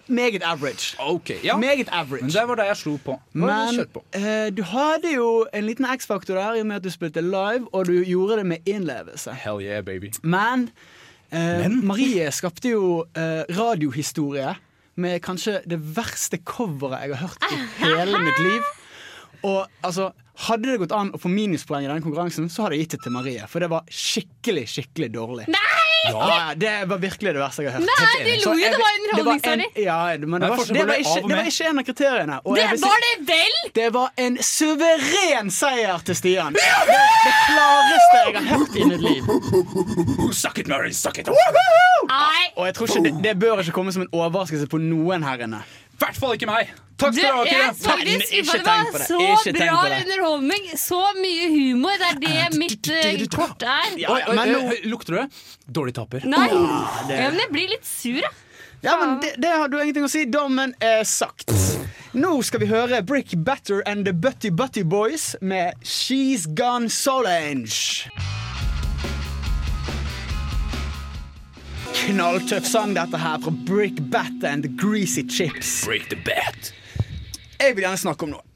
S2: meget average.
S4: Ok, ja.
S2: Meget
S4: Men
S2: average.
S4: det var det jeg slo på.
S2: Men
S4: Kjør på.
S2: eh, du hadde jo en liten X-faktor der i og med at du spilte live, og du gjorde det med innlevelse.
S4: Hell yeah, baby.
S2: Men, eh,
S4: (laughs)
S2: Marie skapte jo eh, radiohistorie med kanskje det verste coveret jeg har hørt
S3: (laughs)
S2: i hele mitt liv. Og altså, Hadde det gått an å få minuspoeng i denne konkurransen, så hadde jeg gitt det til Marie. For det var skikkelig skikkelig dårlig. Ja, ja, det var virkelig det verste jeg har hørt.
S3: Nei, du
S2: Så
S3: lo jo!
S2: jeg
S3: Det var
S2: vil- det var en-
S3: underholdningsverdig.
S2: Ja, men
S4: Nei,
S2: det var,
S4: forskjell
S2: det,
S4: på
S2: var
S4: det
S2: ikke,
S4: av og
S2: det var
S4: med.
S2: ikke en av kriteriene. Og
S3: Det
S2: jeg vil si-
S3: var det vel!
S2: det var en suveren seier til Stian. Det, det klareste jeg har hørt i mitt liv.
S4: Suck it, Mary, suck it.
S3: Nei,
S2: Og jeg tror ikke det, det bør ikke komme som en overraskelse på noen her inne.
S4: I hvert fall ikke meg. Takk
S3: du,
S4: skal du ha,
S3: jeg er
S4: Kyrre.
S2: Nei,
S3: faktisk
S2: ikke
S3: skuffa. Det
S2: tenk på
S3: var
S2: det.
S3: så
S2: Ikke tenk
S3: bra
S2: på det.
S3: underholdning, så mye humor. Det er det mitt eh, kort er.
S2: Ja, ja, men nå,
S4: eh, Lukter du det? Dårlig taper.
S3: Nei, ja, men jeg blir litt sur, jeg.
S2: ja, men det, det har du ingenting å si. Dommen er sagt. Nå skal vi høre Brick Batter and The Butty Butty Boys med She's Gone Solange. Knalltøff sang dette her fra Brick Batter and The Greasy Chips.
S4: Break the bat.
S2: Jeg vil gjerne snakke om noe.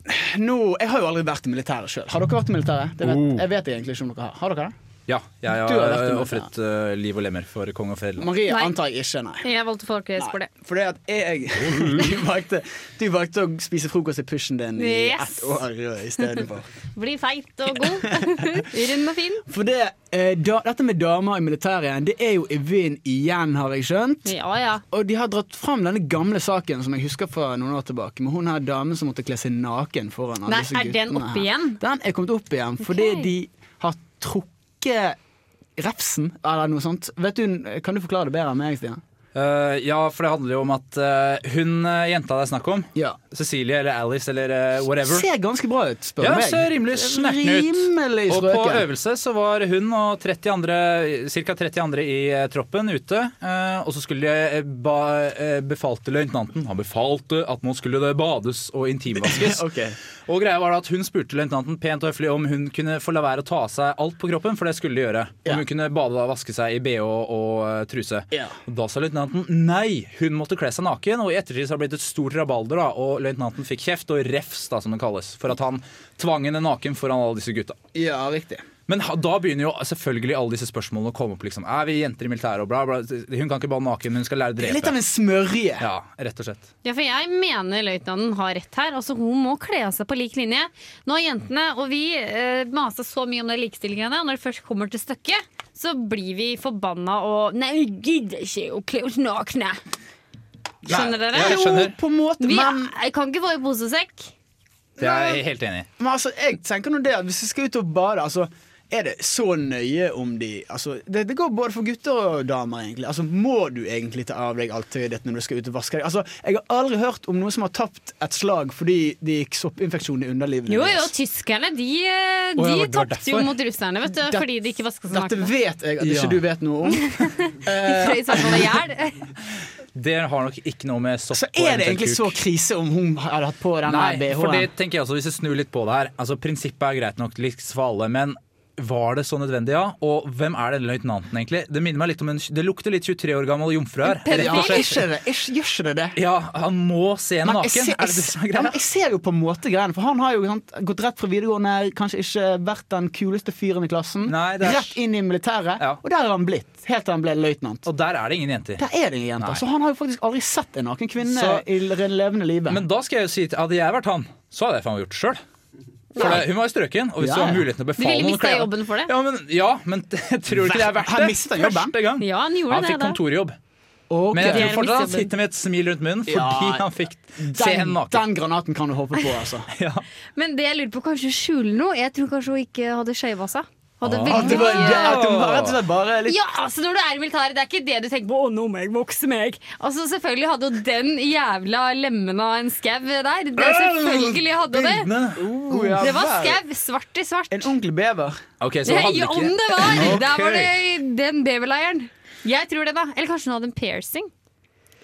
S2: Nå, jeg har jo aldri vært i militæret sjøl. Har dere vært i militæret? Det vet, jeg vet egentlig ikke om dere har. Har dere det?
S4: Ja, jeg
S2: Du har vært
S4: har
S2: imot,
S4: ofret eh, liv og lemmer for kong og fedreland.
S2: Maria
S7: Nei.
S2: antar jeg ikke, nei.
S7: Jeg valgte folkehøyskole for det.
S2: For det at jeg (laughs) du, valgte, du valgte å spise frokost i pushen din i
S7: Yes.
S2: ett år i stedet for.
S7: Bli feit og god. (laughs) Rund og fin.
S2: For det, eh, da, dette med damer i militæret igjen, det er jo i vinden igjen, har jeg skjønt.
S7: Ja ja.
S2: Og de har dratt fram denne gamle saken som jeg husker fra noen år tilbake, med hun her damen som måtte kle seg naken foran alle
S7: Nei,
S2: disse
S7: er den
S2: guttene
S7: oppe
S2: her.
S7: igjen?
S2: Den er kommet opp igjen, fordi
S7: Ok.
S2: de har trukket refsen, eller noe sånt. Vet du, kan du forklare det bedre enn meg, Stian?
S4: Eh, ja, for det handler jo om at eh, hun eh, jenta det er snakk om,
S2: Ja.
S4: Cecilie eller Alice eller eh, whatever
S2: Ser ganske bra ut, spør du
S4: Ja,
S2: meg.
S4: ser rimelig snerten ut.
S2: Rimelig
S4: Og på
S2: strøken.
S4: øvelse så var hun og 30 andre, ca. 30 andre i eh, troppen ute. eh, og så skulle eh, ba, eh, befalte løytnanten Han befalte at nå skulle det bades og intimvaskes.
S2: (laughs) Ok.
S4: Og greia var da at Hun spurte løytnanten pent og høflig om hun kunne få la være å ta av seg alt på kroppen, for det skulle de gjøre. Om
S2: Ja.
S4: hun kunne bade og vaske seg i bh og eh, truse.
S2: Ja.
S4: Og Da sa løytnanten nei, hun måtte kle seg naken. Og i ettertid så har det blitt et stort rabalder, da, og løytnanten fikk kjeft og refs, da, som det kalles, for at han tvang henne naken foran alle disse gutta.
S2: Ja, riktig.
S4: Men ha- da begynner jo selvfølgelig alle disse spørsmålene å komme opp. liksom Er vi jenter i militæret og bla, bla. Hun kan ikke bade naken, men hun skal lære å
S2: Litt av
S4: drepe.
S2: en smørje.
S4: Ja, rett og slett.
S7: Ja, for jeg mener løytnanten har rett her. Altså, Hun må kle av seg på lik linje. Nå har jentene og vi eh, masa så mye om det likestillinggreiene, og når det først kommer til stykket, så blir vi forbanna og Nei, vi gidder ikke å kle oss nakne! Skjønner dere?
S4: Ja, jeg skjønner.
S2: På en måte,
S7: Vi
S2: men,
S7: er- kan ikke få i pose og sekk.
S4: Det er jeg helt enig i.
S2: men altså, jeg tenker nå det at hvis du skal ut og bade, altså er det så nøye om de altså, det, det går både for gutter og damer, egentlig. Altså, må du egentlig ta av deg alt tøyet ditt når du skal ut og vaske deg? Altså, jeg har aldri hørt om noen som har tapt et slag fordi de gikk soppinfeksjon i underlivet.
S7: Jo, jo,
S2: deres.
S7: tyskerne de,
S4: Å,
S7: eh, de
S4: ja, det var
S7: tapte jo
S4: derfor.
S7: mot russerne, vet du.
S2: Det-
S7: fordi de ikke vaska seg
S2: Dette
S7: nakne.
S2: vet jeg at ikke
S4: Ja.
S2: du vet noe om.
S7: De frøs (laughs) i hvert fall i
S4: (laughs)
S7: hjel.
S4: Det har nok ikke noe med sopp
S2: Så er
S4: og
S2: det
S4: eventuelt
S2: egentlig
S4: kuk.
S2: så krise om hun hadde hatt på denne
S4: Nei, for det
S2: BH-en.
S4: tenker jeg også, hvis jeg snur litt på det her. Altså, Prinsippet er greit nok, likt for alle, men var det så nødvendig, ja? Og hvem er den løytnanten, egentlig? Det minner meg litt om en, det lukter litt 23 år gammel jomfru her.
S2: Ja,
S4: rett og slett.
S2: ikke det, ikke, gjør ikke det det?
S4: Ja, han må se en
S2: Men
S4: naken.
S2: jeg ser-
S4: er det det som
S2: Ja,
S4: er greia?
S2: men jeg ser jo på en måte greiene, for han har jo sant, gått rett fra videregående, kanskje ikke vært den kuleste fyren i klassen.
S4: Nei, det er-
S2: Rett inn i militæret,
S4: Ja.
S2: og der har han blitt. Helt til han ble løytnant.
S4: Og der er det ingen jenter.
S2: Der er det ingen jenter,
S4: Nei.
S2: så han har jo faktisk aldri sett en naken kvinne
S4: Så-
S2: i det levende livet.
S4: Men da skal jeg jo si til Hadde jeg vært han, så hadde jeg faen meg gjort det sjøl. For det, hun var jo strøken, og hvis
S2: Ja,
S4: det var
S2: ja.
S4: muligheten til å
S7: Du
S4: befale noen
S7: ville
S4: å
S7: mista
S4: kle-
S7: jobben for det.
S4: Ja, men, ja, men (laughs) jeg tror ikke det er verdt det.
S2: Han mistet jobben.
S4: Første gang.
S7: Ja, han gjorde
S4: han
S7: det,
S4: fikk
S7: da.
S4: kontorjobb.
S2: Ok.
S4: Men jeg
S7: Det
S4: tror
S7: er
S4: fortsatt han
S7: misjobben.
S4: sitter med et smil rundt munnen fordi
S2: Ja,
S4: han fikk se
S2: den,
S4: henne naken.
S2: den granaten kan du håpe på, altså.
S7: Men det jeg lurer på, kanskje hun skjuler noe? Jeg tror kanskje hun ikke hadde skeiva seg. Hadde
S4: Ah.
S2: At (laughs) det
S7: veldig
S2: var,
S7: mye
S2: at det var rett og slett bare litt
S7: Ja, altså når du er i militæret, det er ikke det du tenker på. Å, nå må jeg vokse meg. Altså Selvfølgelig hadde jo den jævla lemmen av en skau der. Det selvfølgelig hadde det.
S2: Oh, ja,
S7: Det var
S2: vel.
S7: skau. Svart i svart.
S2: En onkel bever.
S4: Ok, så
S7: Nei,
S4: hadde ikke
S7: om det var! Der
S4: Ok.
S7: var det den beverleiren. Jeg tror det, da. Eller kanskje hun hadde en piercing.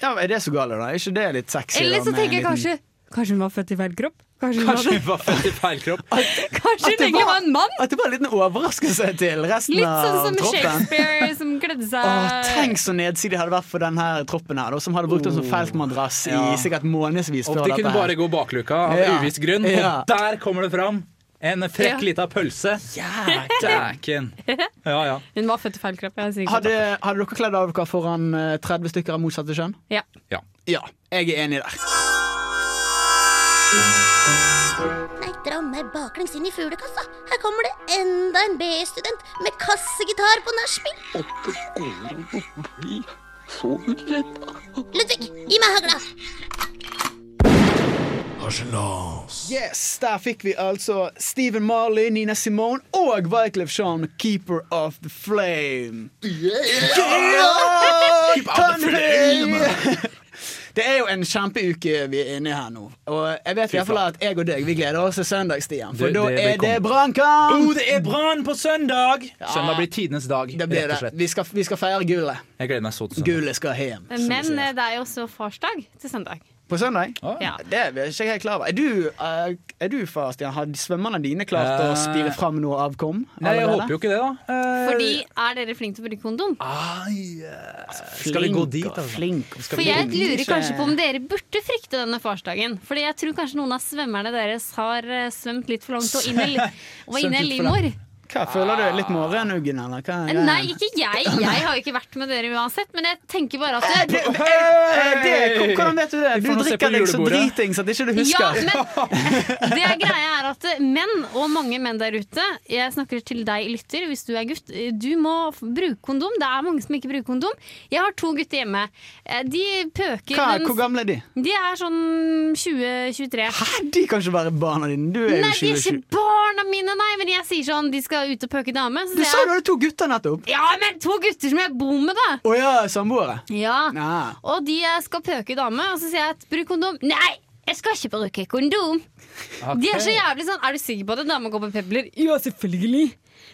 S2: Ja, Er det så galt, da? Er ikke det litt sexy?
S7: Eller
S2: da,
S7: så
S2: med en
S7: tenker jeg
S2: liten-
S7: kanskje Kanskje hun var født i feil kropp? Kanskje hun,
S4: (laughs) Kanskje
S7: hadde,
S4: hun var født i feil kropp.
S7: kanskje hun
S2: det
S7: egentlig
S2: var-
S7: var en mann?
S2: At det var en liten overraskelse til resten
S7: Litt sånn
S2: av
S7: som
S2: troppen.
S7: Shakespeare som kledde
S2: Åh,
S7: seg
S2: tenk så nedsidig det hadde vært for denne troppen her, da, som hadde brukt den som feltmadrass i sikkert månedsvis
S4: Om
S2: før
S4: de kunne
S2: dette.
S4: bare
S2: her.
S4: gå bakluka av
S2: Ja.
S4: uviss grunn, og
S2: Ja.
S4: der kommer det fram! En frekk
S7: Ja.
S4: lita pølse. Dæken. Ja, ja.
S7: Hun var født i feil kropp. Jeg er sikker på
S2: Hadde, hadde dere kledd av dere foran eh, 30 stykker av motsatte kjønn?
S7: det. Ja.
S4: ja.
S2: Ja, jeg er enig der.
S5: Nei, dra meg baklengs inn i fuglekassa. Her kommer det enda en BI-student med kassegitar på nachspiel. Ludvig, gi meg hagla.
S2: Yes, Der fikk vi altså Stephen Marley, Nina Simone og Wyclef Jean, 'Keeper of the Flame'. Yeah! Det er jo en kjempeuke vi er inne i her nå. Og jeg vet i hvert fall at jeg og deg vi gleder oss til søndag, Stian. For
S4: Det-
S2: da
S4: det
S2: er
S4: vil
S2: det
S4: komme.
S2: brannkamp!
S4: Oh, det er brann på søndag! Søndag blir tidenes dag.
S2: Det blir
S4: rett
S2: det.
S4: og slett. Sånn.
S2: Vi skal, vi skal feire gullet.
S4: Jeg gleder meg så til søndag.
S2: Gullet skal hjem. som vi
S7: Men
S2: sier.
S7: eh, det er jo også farsdag til søndag.
S2: På søndag?
S7: Ja.
S2: Det er vi ikke helt klar over. Er du, eh, er du far, Stian? Har svømmerne dine klart å
S4: Eh,
S2: spire fram noe avkom?
S4: Nei, jeg håper jo ikke det, da. Eh,
S7: Fordi er dere flinke til å bruke kondom?
S4: Ah, ai, eh, Skal vi gå dit, altså?
S2: Flink, og skal
S7: For
S2: vi
S7: jeg
S2: gå dit?
S7: lurer kanskje på om dere burde frykte denne farsdagen. Fordi jeg tror kanskje noen av svømmerne deres har eh, svømt litt for langt og inn i, og var inne i
S4: Svømt litt for
S7: livmor.
S2: Hva føler du? Litt morgenuggen, eller? Hva er greia?
S7: Nei, ikke jeg. Jeg har jo ikke vært med dere uansett, men jeg tenker bare at
S2: Du, eh, eh, det, hvordan vet du det?
S4: Vi
S2: Du
S4: får nå se på
S2: drikker deg så
S4: julebordet.
S2: dritings at ikke du husker.
S7: Ja,
S2: (laughs)
S7: men det er greia er at menn, og mange menn der ute Jeg snakker til deg, lytter, hvis du er gutt. Du må f- bruke kondom. Det er mange som ikke bruker kondom. Jeg har to gutter hjemme. Eh, De pøker
S2: Hva,
S7: den-
S2: hvor gamle er de?
S7: De er sånn 20-23.
S2: Hæ, de kan ikke være barna dine. Du er
S7: Nei, de
S2: jo
S7: er
S2: 27.
S7: ikke barna mine, nei, men jeg sier sånn de skal ut og pøke dame. Så
S2: Du
S7: sier
S2: sa du
S7: jeg,
S2: hadde to gutter nettopp.
S7: ja, men to gutter som jeg bor med, da!
S2: Å ja, samboere.
S7: Ja.
S2: Ja.
S7: Og de eh, skal pøke dame, og så sier jeg at bruk kondom. Nei! Jeg skal ikke bruke kondom! De er så jævlig sånn Er du sikker på at en dame går på pepler? Ja, selvfølgelig.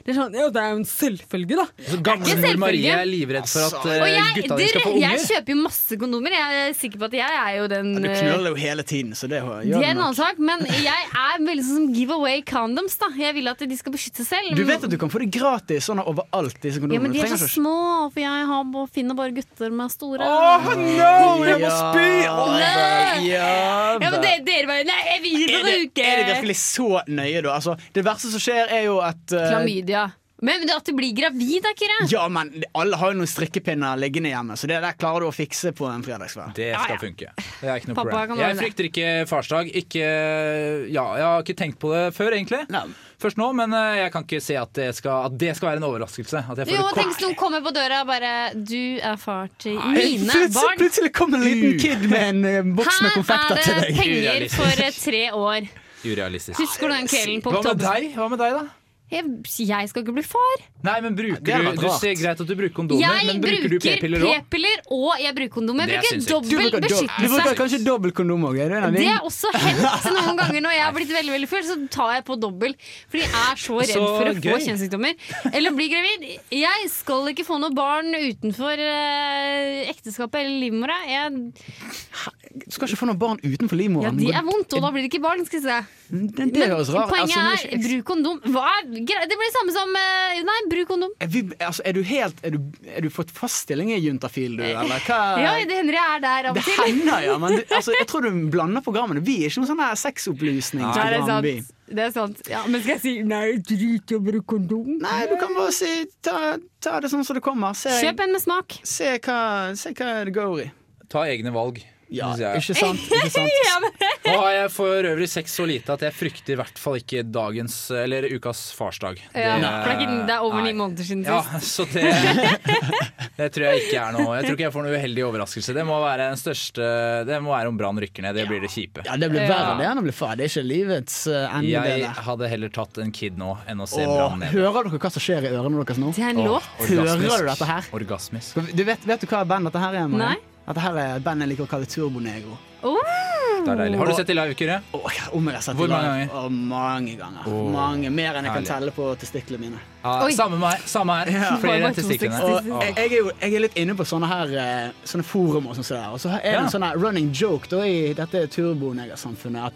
S7: Det er sånn, ja, det er jo en selvfølge, da.
S4: Så
S7: Det er ikke
S4: Gamlemor
S7: selvfølgelig.
S4: Marie er livredd for at eh,
S7: Altså. Og jeg,
S4: gutta dine skal få
S7: dere- jeg
S4: unger.
S7: kjøper jo masse kondomer. Jeg er sikker på at jeg er jo den
S2: Du
S7: eh,
S2: knuller jo hele tiden, så det gjør
S7: Det
S2: du
S7: er en
S2: nok.
S7: annen sak, men jeg er veldig sånn som give away condoms. da Jeg vil at de skal beskytte seg selv.
S2: Du vet at du kan få det gratis sånn overalt, disse
S7: ja, men
S2: kondomene. Du
S7: de er
S2: trenger
S7: så
S2: ikke å
S7: små, for jeg har bare, finner bare gutter med store
S2: no! Jeg må spy!
S7: Nei!
S2: Ja,
S7: Ja, men det, Dere bare Nei, jeg vil
S2: Er
S7: ikke
S2: det,
S7: bruke
S2: er det virkelig så nøye, da? Altså, det verste som skjer, er jo at eh,
S7: klamydia. Men men det at du blir gravid, da, Kyrre.
S2: Ja, men alle har jo noen strikkepinner liggende hjemme, så det der klarer du å fikse på en fredagskveld.
S4: Det
S7: Ja,
S4: skal
S7: ja.
S4: funke. Det er ikke noe
S7: Pappa
S4: problem.
S7: kan ordne
S4: Jeg
S7: det.
S4: frykter ikke farsdag. Ikke, ja, jeg har ikke tenkt på det før, egentlig.
S2: Nei.
S4: Først nå, men eh, jeg kan ikke se at det skal, at det skal være en overraskelse. At jeg får
S7: Jo,
S4: et
S7: tenk
S4: kort.
S7: hvis noen kommer på døra og bare Du er far til mine
S2: Plutselig,
S7: barn.
S2: Eh, plutselig kom en liten kid med en eh, boks med
S7: Her
S2: konfekter til
S7: er det
S2: deg.
S7: penger for eh, tre år.
S4: Urealistisk.
S7: Husker du den kvelden på
S4: Hva med
S7: oktober?
S4: deg? Hva med deg, da?
S7: Jeg, jeg skal ikke bli far.
S4: Nei, men bruker
S2: Det er
S4: du
S2: nok
S4: Du
S2: rart.
S4: ser greit at du bruker kondomer,
S7: Jeg
S4: men bruker,
S7: bruker
S4: du p-piller òg?
S7: p-piller, og jeg bruker kondom. Jeg
S4: Det er
S7: bruker
S4: sinnssykt.
S2: Du
S7: dobbel
S2: bruker, dob- du
S7: beskyttelse.
S2: bruker kanskje dobbelt kondom òg? Er det en av
S7: Det
S2: dine?
S7: er også hendt noen ganger når jeg
S4: (laughs)
S7: har blitt veldig veldig full, så tar jeg på dobbel. Fordi jeg er så redd
S4: Så
S7: for å få
S4: gøy.
S7: kjønnssykdommer. Eller bli gravid. Jeg skal ikke få noe barn utenfor eh, ekteskapet eller livmora. Jeg,
S2: Du skal ikke få noen barn utenfor livmoren.
S7: ja, de er vondt, og da blir det ikke barn. skal jeg si
S2: Det, det høres rart
S7: Poenget
S2: altså, nå er
S7: er
S2: ikke-
S7: bruk kondom. Hva er, gre- det blir det samme som eh, Nei, bruk kondom.
S2: er, vi, altså, er du helt Er du, er du fått fast stilling i juntafil,
S7: (laughs)
S2: du, eller hva?
S7: Ja, det hender jeg er der av
S2: det
S7: og til.
S2: hender, ja, men du, altså, jeg tror du blander programmene. Vi er ikke noe sånn her
S7: Nei, det er
S2: sexopplysningsprogram. vi.
S7: sant. Det er sant. Ja, men skal jeg si nei, drit i å bruke kondom?
S2: Nei, du kan bare si ta, ta det sånn som det kommer. Se,
S7: Kjøp en med smak.
S2: se, hva, se hva det går i.
S4: Ta egne valg. synes jeg.
S2: ikke sant? Ikke
S7: (laughs)
S2: sant?
S4: Nå har jeg for øvrig sex så lite at jeg frykter i hvert fall ikke dagens eller ukas farsdag.
S7: Ja, for det er ikke- det er over ni
S4: Nei.
S7: måneder siden
S4: Ja,
S7: sist.
S4: (laughs) så det, det tror jeg ikke er noe Jeg tror ikke jeg får noen uheldig overraskelse. Det må være den største Det må være om Brann rykker ned. Det blir det kjipe.
S2: Ja, det blir verre det enn å bli far. Det er ikke livets eh, ende. det
S4: Jeg
S2: der.
S4: hadde heller tatt en kid nå enn å se
S2: Og
S4: Brann ned.
S2: hører dere hva som skjer i ørene deres nå?
S7: Det er en låt.
S2: Hører du dette her?
S4: Orgasmisk.
S2: Du vet, vet du hva band dette her er? Marie?
S7: Nei.
S2: Dette her er et band jeg liker å kalle Turbonegro.
S4: Det er deilig. Har du sett det i live, Kyrre?
S2: Åh, om jeg har sett
S4: Hvor
S2: det live.
S4: mange ganger?
S2: Åh, mange ganger.
S4: Åh,
S2: mange, Mer enn jeg kan
S4: herlig.
S2: telle på testiklene mine.
S4: Ja,
S7: Oi.
S4: samme med her. Samme her.
S7: Bare
S4: Flere
S7: bare
S4: enn testiklene.
S7: to
S2: Og jeg, jeg, er jo, jeg er litt inne på sånne her eh, Sånne forum og sånn. sånn der. Og så er det
S4: Ja.
S2: en sånn her running joke da, i dette turbonegersamfunnet at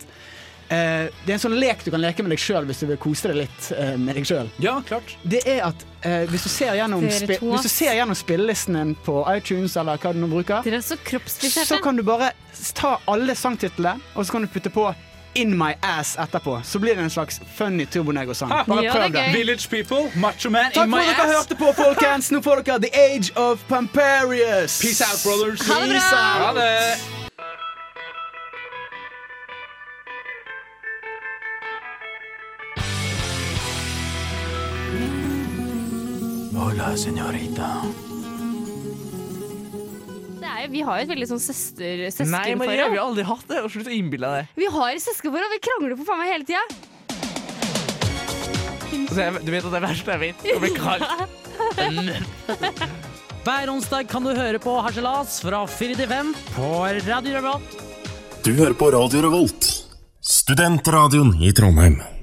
S2: eh, det er en sånn lek du kan leke med deg sjøl hvis du vil kose deg litt eh, med deg sjøl.
S4: Ja, klart.
S2: Det er at eh, hvis, du ser gjennom
S7: Dere
S2: spi-
S7: to,
S2: hvis du
S7: ass.
S2: ser gjennom spillelisten din på iTunes eller hva du nå bruker,
S7: Dere er så
S2: så
S7: kroppsfriserte.
S2: kan du bare ta alle sangtitlene, og så kan du putte på In My Ass etterpå. Så blir det en slags funny turbonego-sang.
S4: Ha,
S7: Ja, det er gøy.
S4: Village people, macho man
S2: Takk
S4: in
S2: for
S4: my
S2: at dere
S4: ass.
S2: hørte på, folkens. Nå får dere The Age of Pamperius.
S4: Peace out, brothers.
S7: Ha det bra!
S2: Peace out.
S4: Ha det.
S8: Hola, señorita.
S7: Det er jo- Vi har jo et veldig sånn søster,
S3: Nei, Maria, vi
S7: søskenforhold.
S3: har aldri hatt det. Og slutt å innbille deg det.
S7: Vi har et søskenforhold, vi krangler for faen meg hele tida.
S3: Altså, jeg, du vet at det er verst jeg vet. Å bli kalt.
S1: Hver onsdag kan du høre på Harselas fra 4 til 5 på Radio Revolt.
S6: Du hører på Radio Revolt, studentradioen i Trondheim.